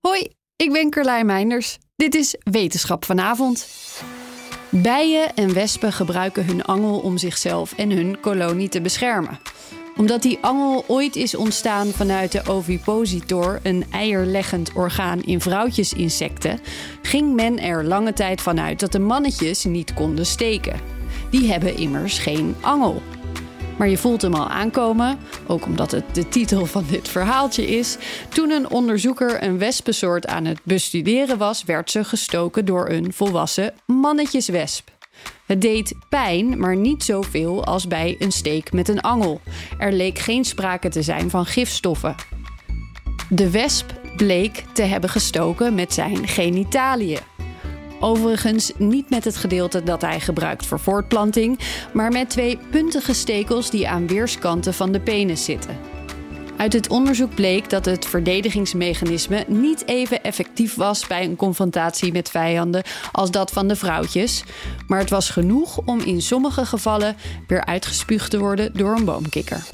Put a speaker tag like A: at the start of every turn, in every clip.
A: Hoi, ik ben Carlijn Meinders. Dit is Wetenschap vanavond. Bijen en wespen gebruiken hun angel om zichzelf en hun kolonie te beschermen. Omdat die angel ooit is ontstaan vanuit de ovipositor, een eierleggend orgaan in vrouwtjesinsecten, ging men er lange tijd vanuit dat de mannetjes niet konden steken. Die hebben immers geen angel. Maar je voelt hem al aankomen, ook omdat het de titel van dit verhaaltje is. Toen een onderzoeker een wespensoort aan het bestuderen was, werd ze gestoken door een volwassen mannetjeswesp. Het deed pijn, maar niet zoveel als bij een steek met een angel. Er leek geen sprake te zijn van gifstoffen. De wesp bleek te hebben gestoken met zijn genitaliën. Overigens niet met het gedeelte dat hij gebruikt voor voortplanting, maar met twee puntige stekels die aan weerskanten van de penis zitten. Uit het onderzoek bleek dat het verdedigingsmechanisme niet even effectief was bij een confrontatie met vijanden als dat van de vrouwtjes, maar het was genoeg om in sommige gevallen weer uitgespuugd te worden door een boomkikker.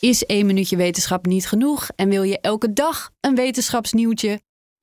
A: Is één minuutje wetenschap niet genoeg en wil je elke dag een wetenschapsnieuwtje?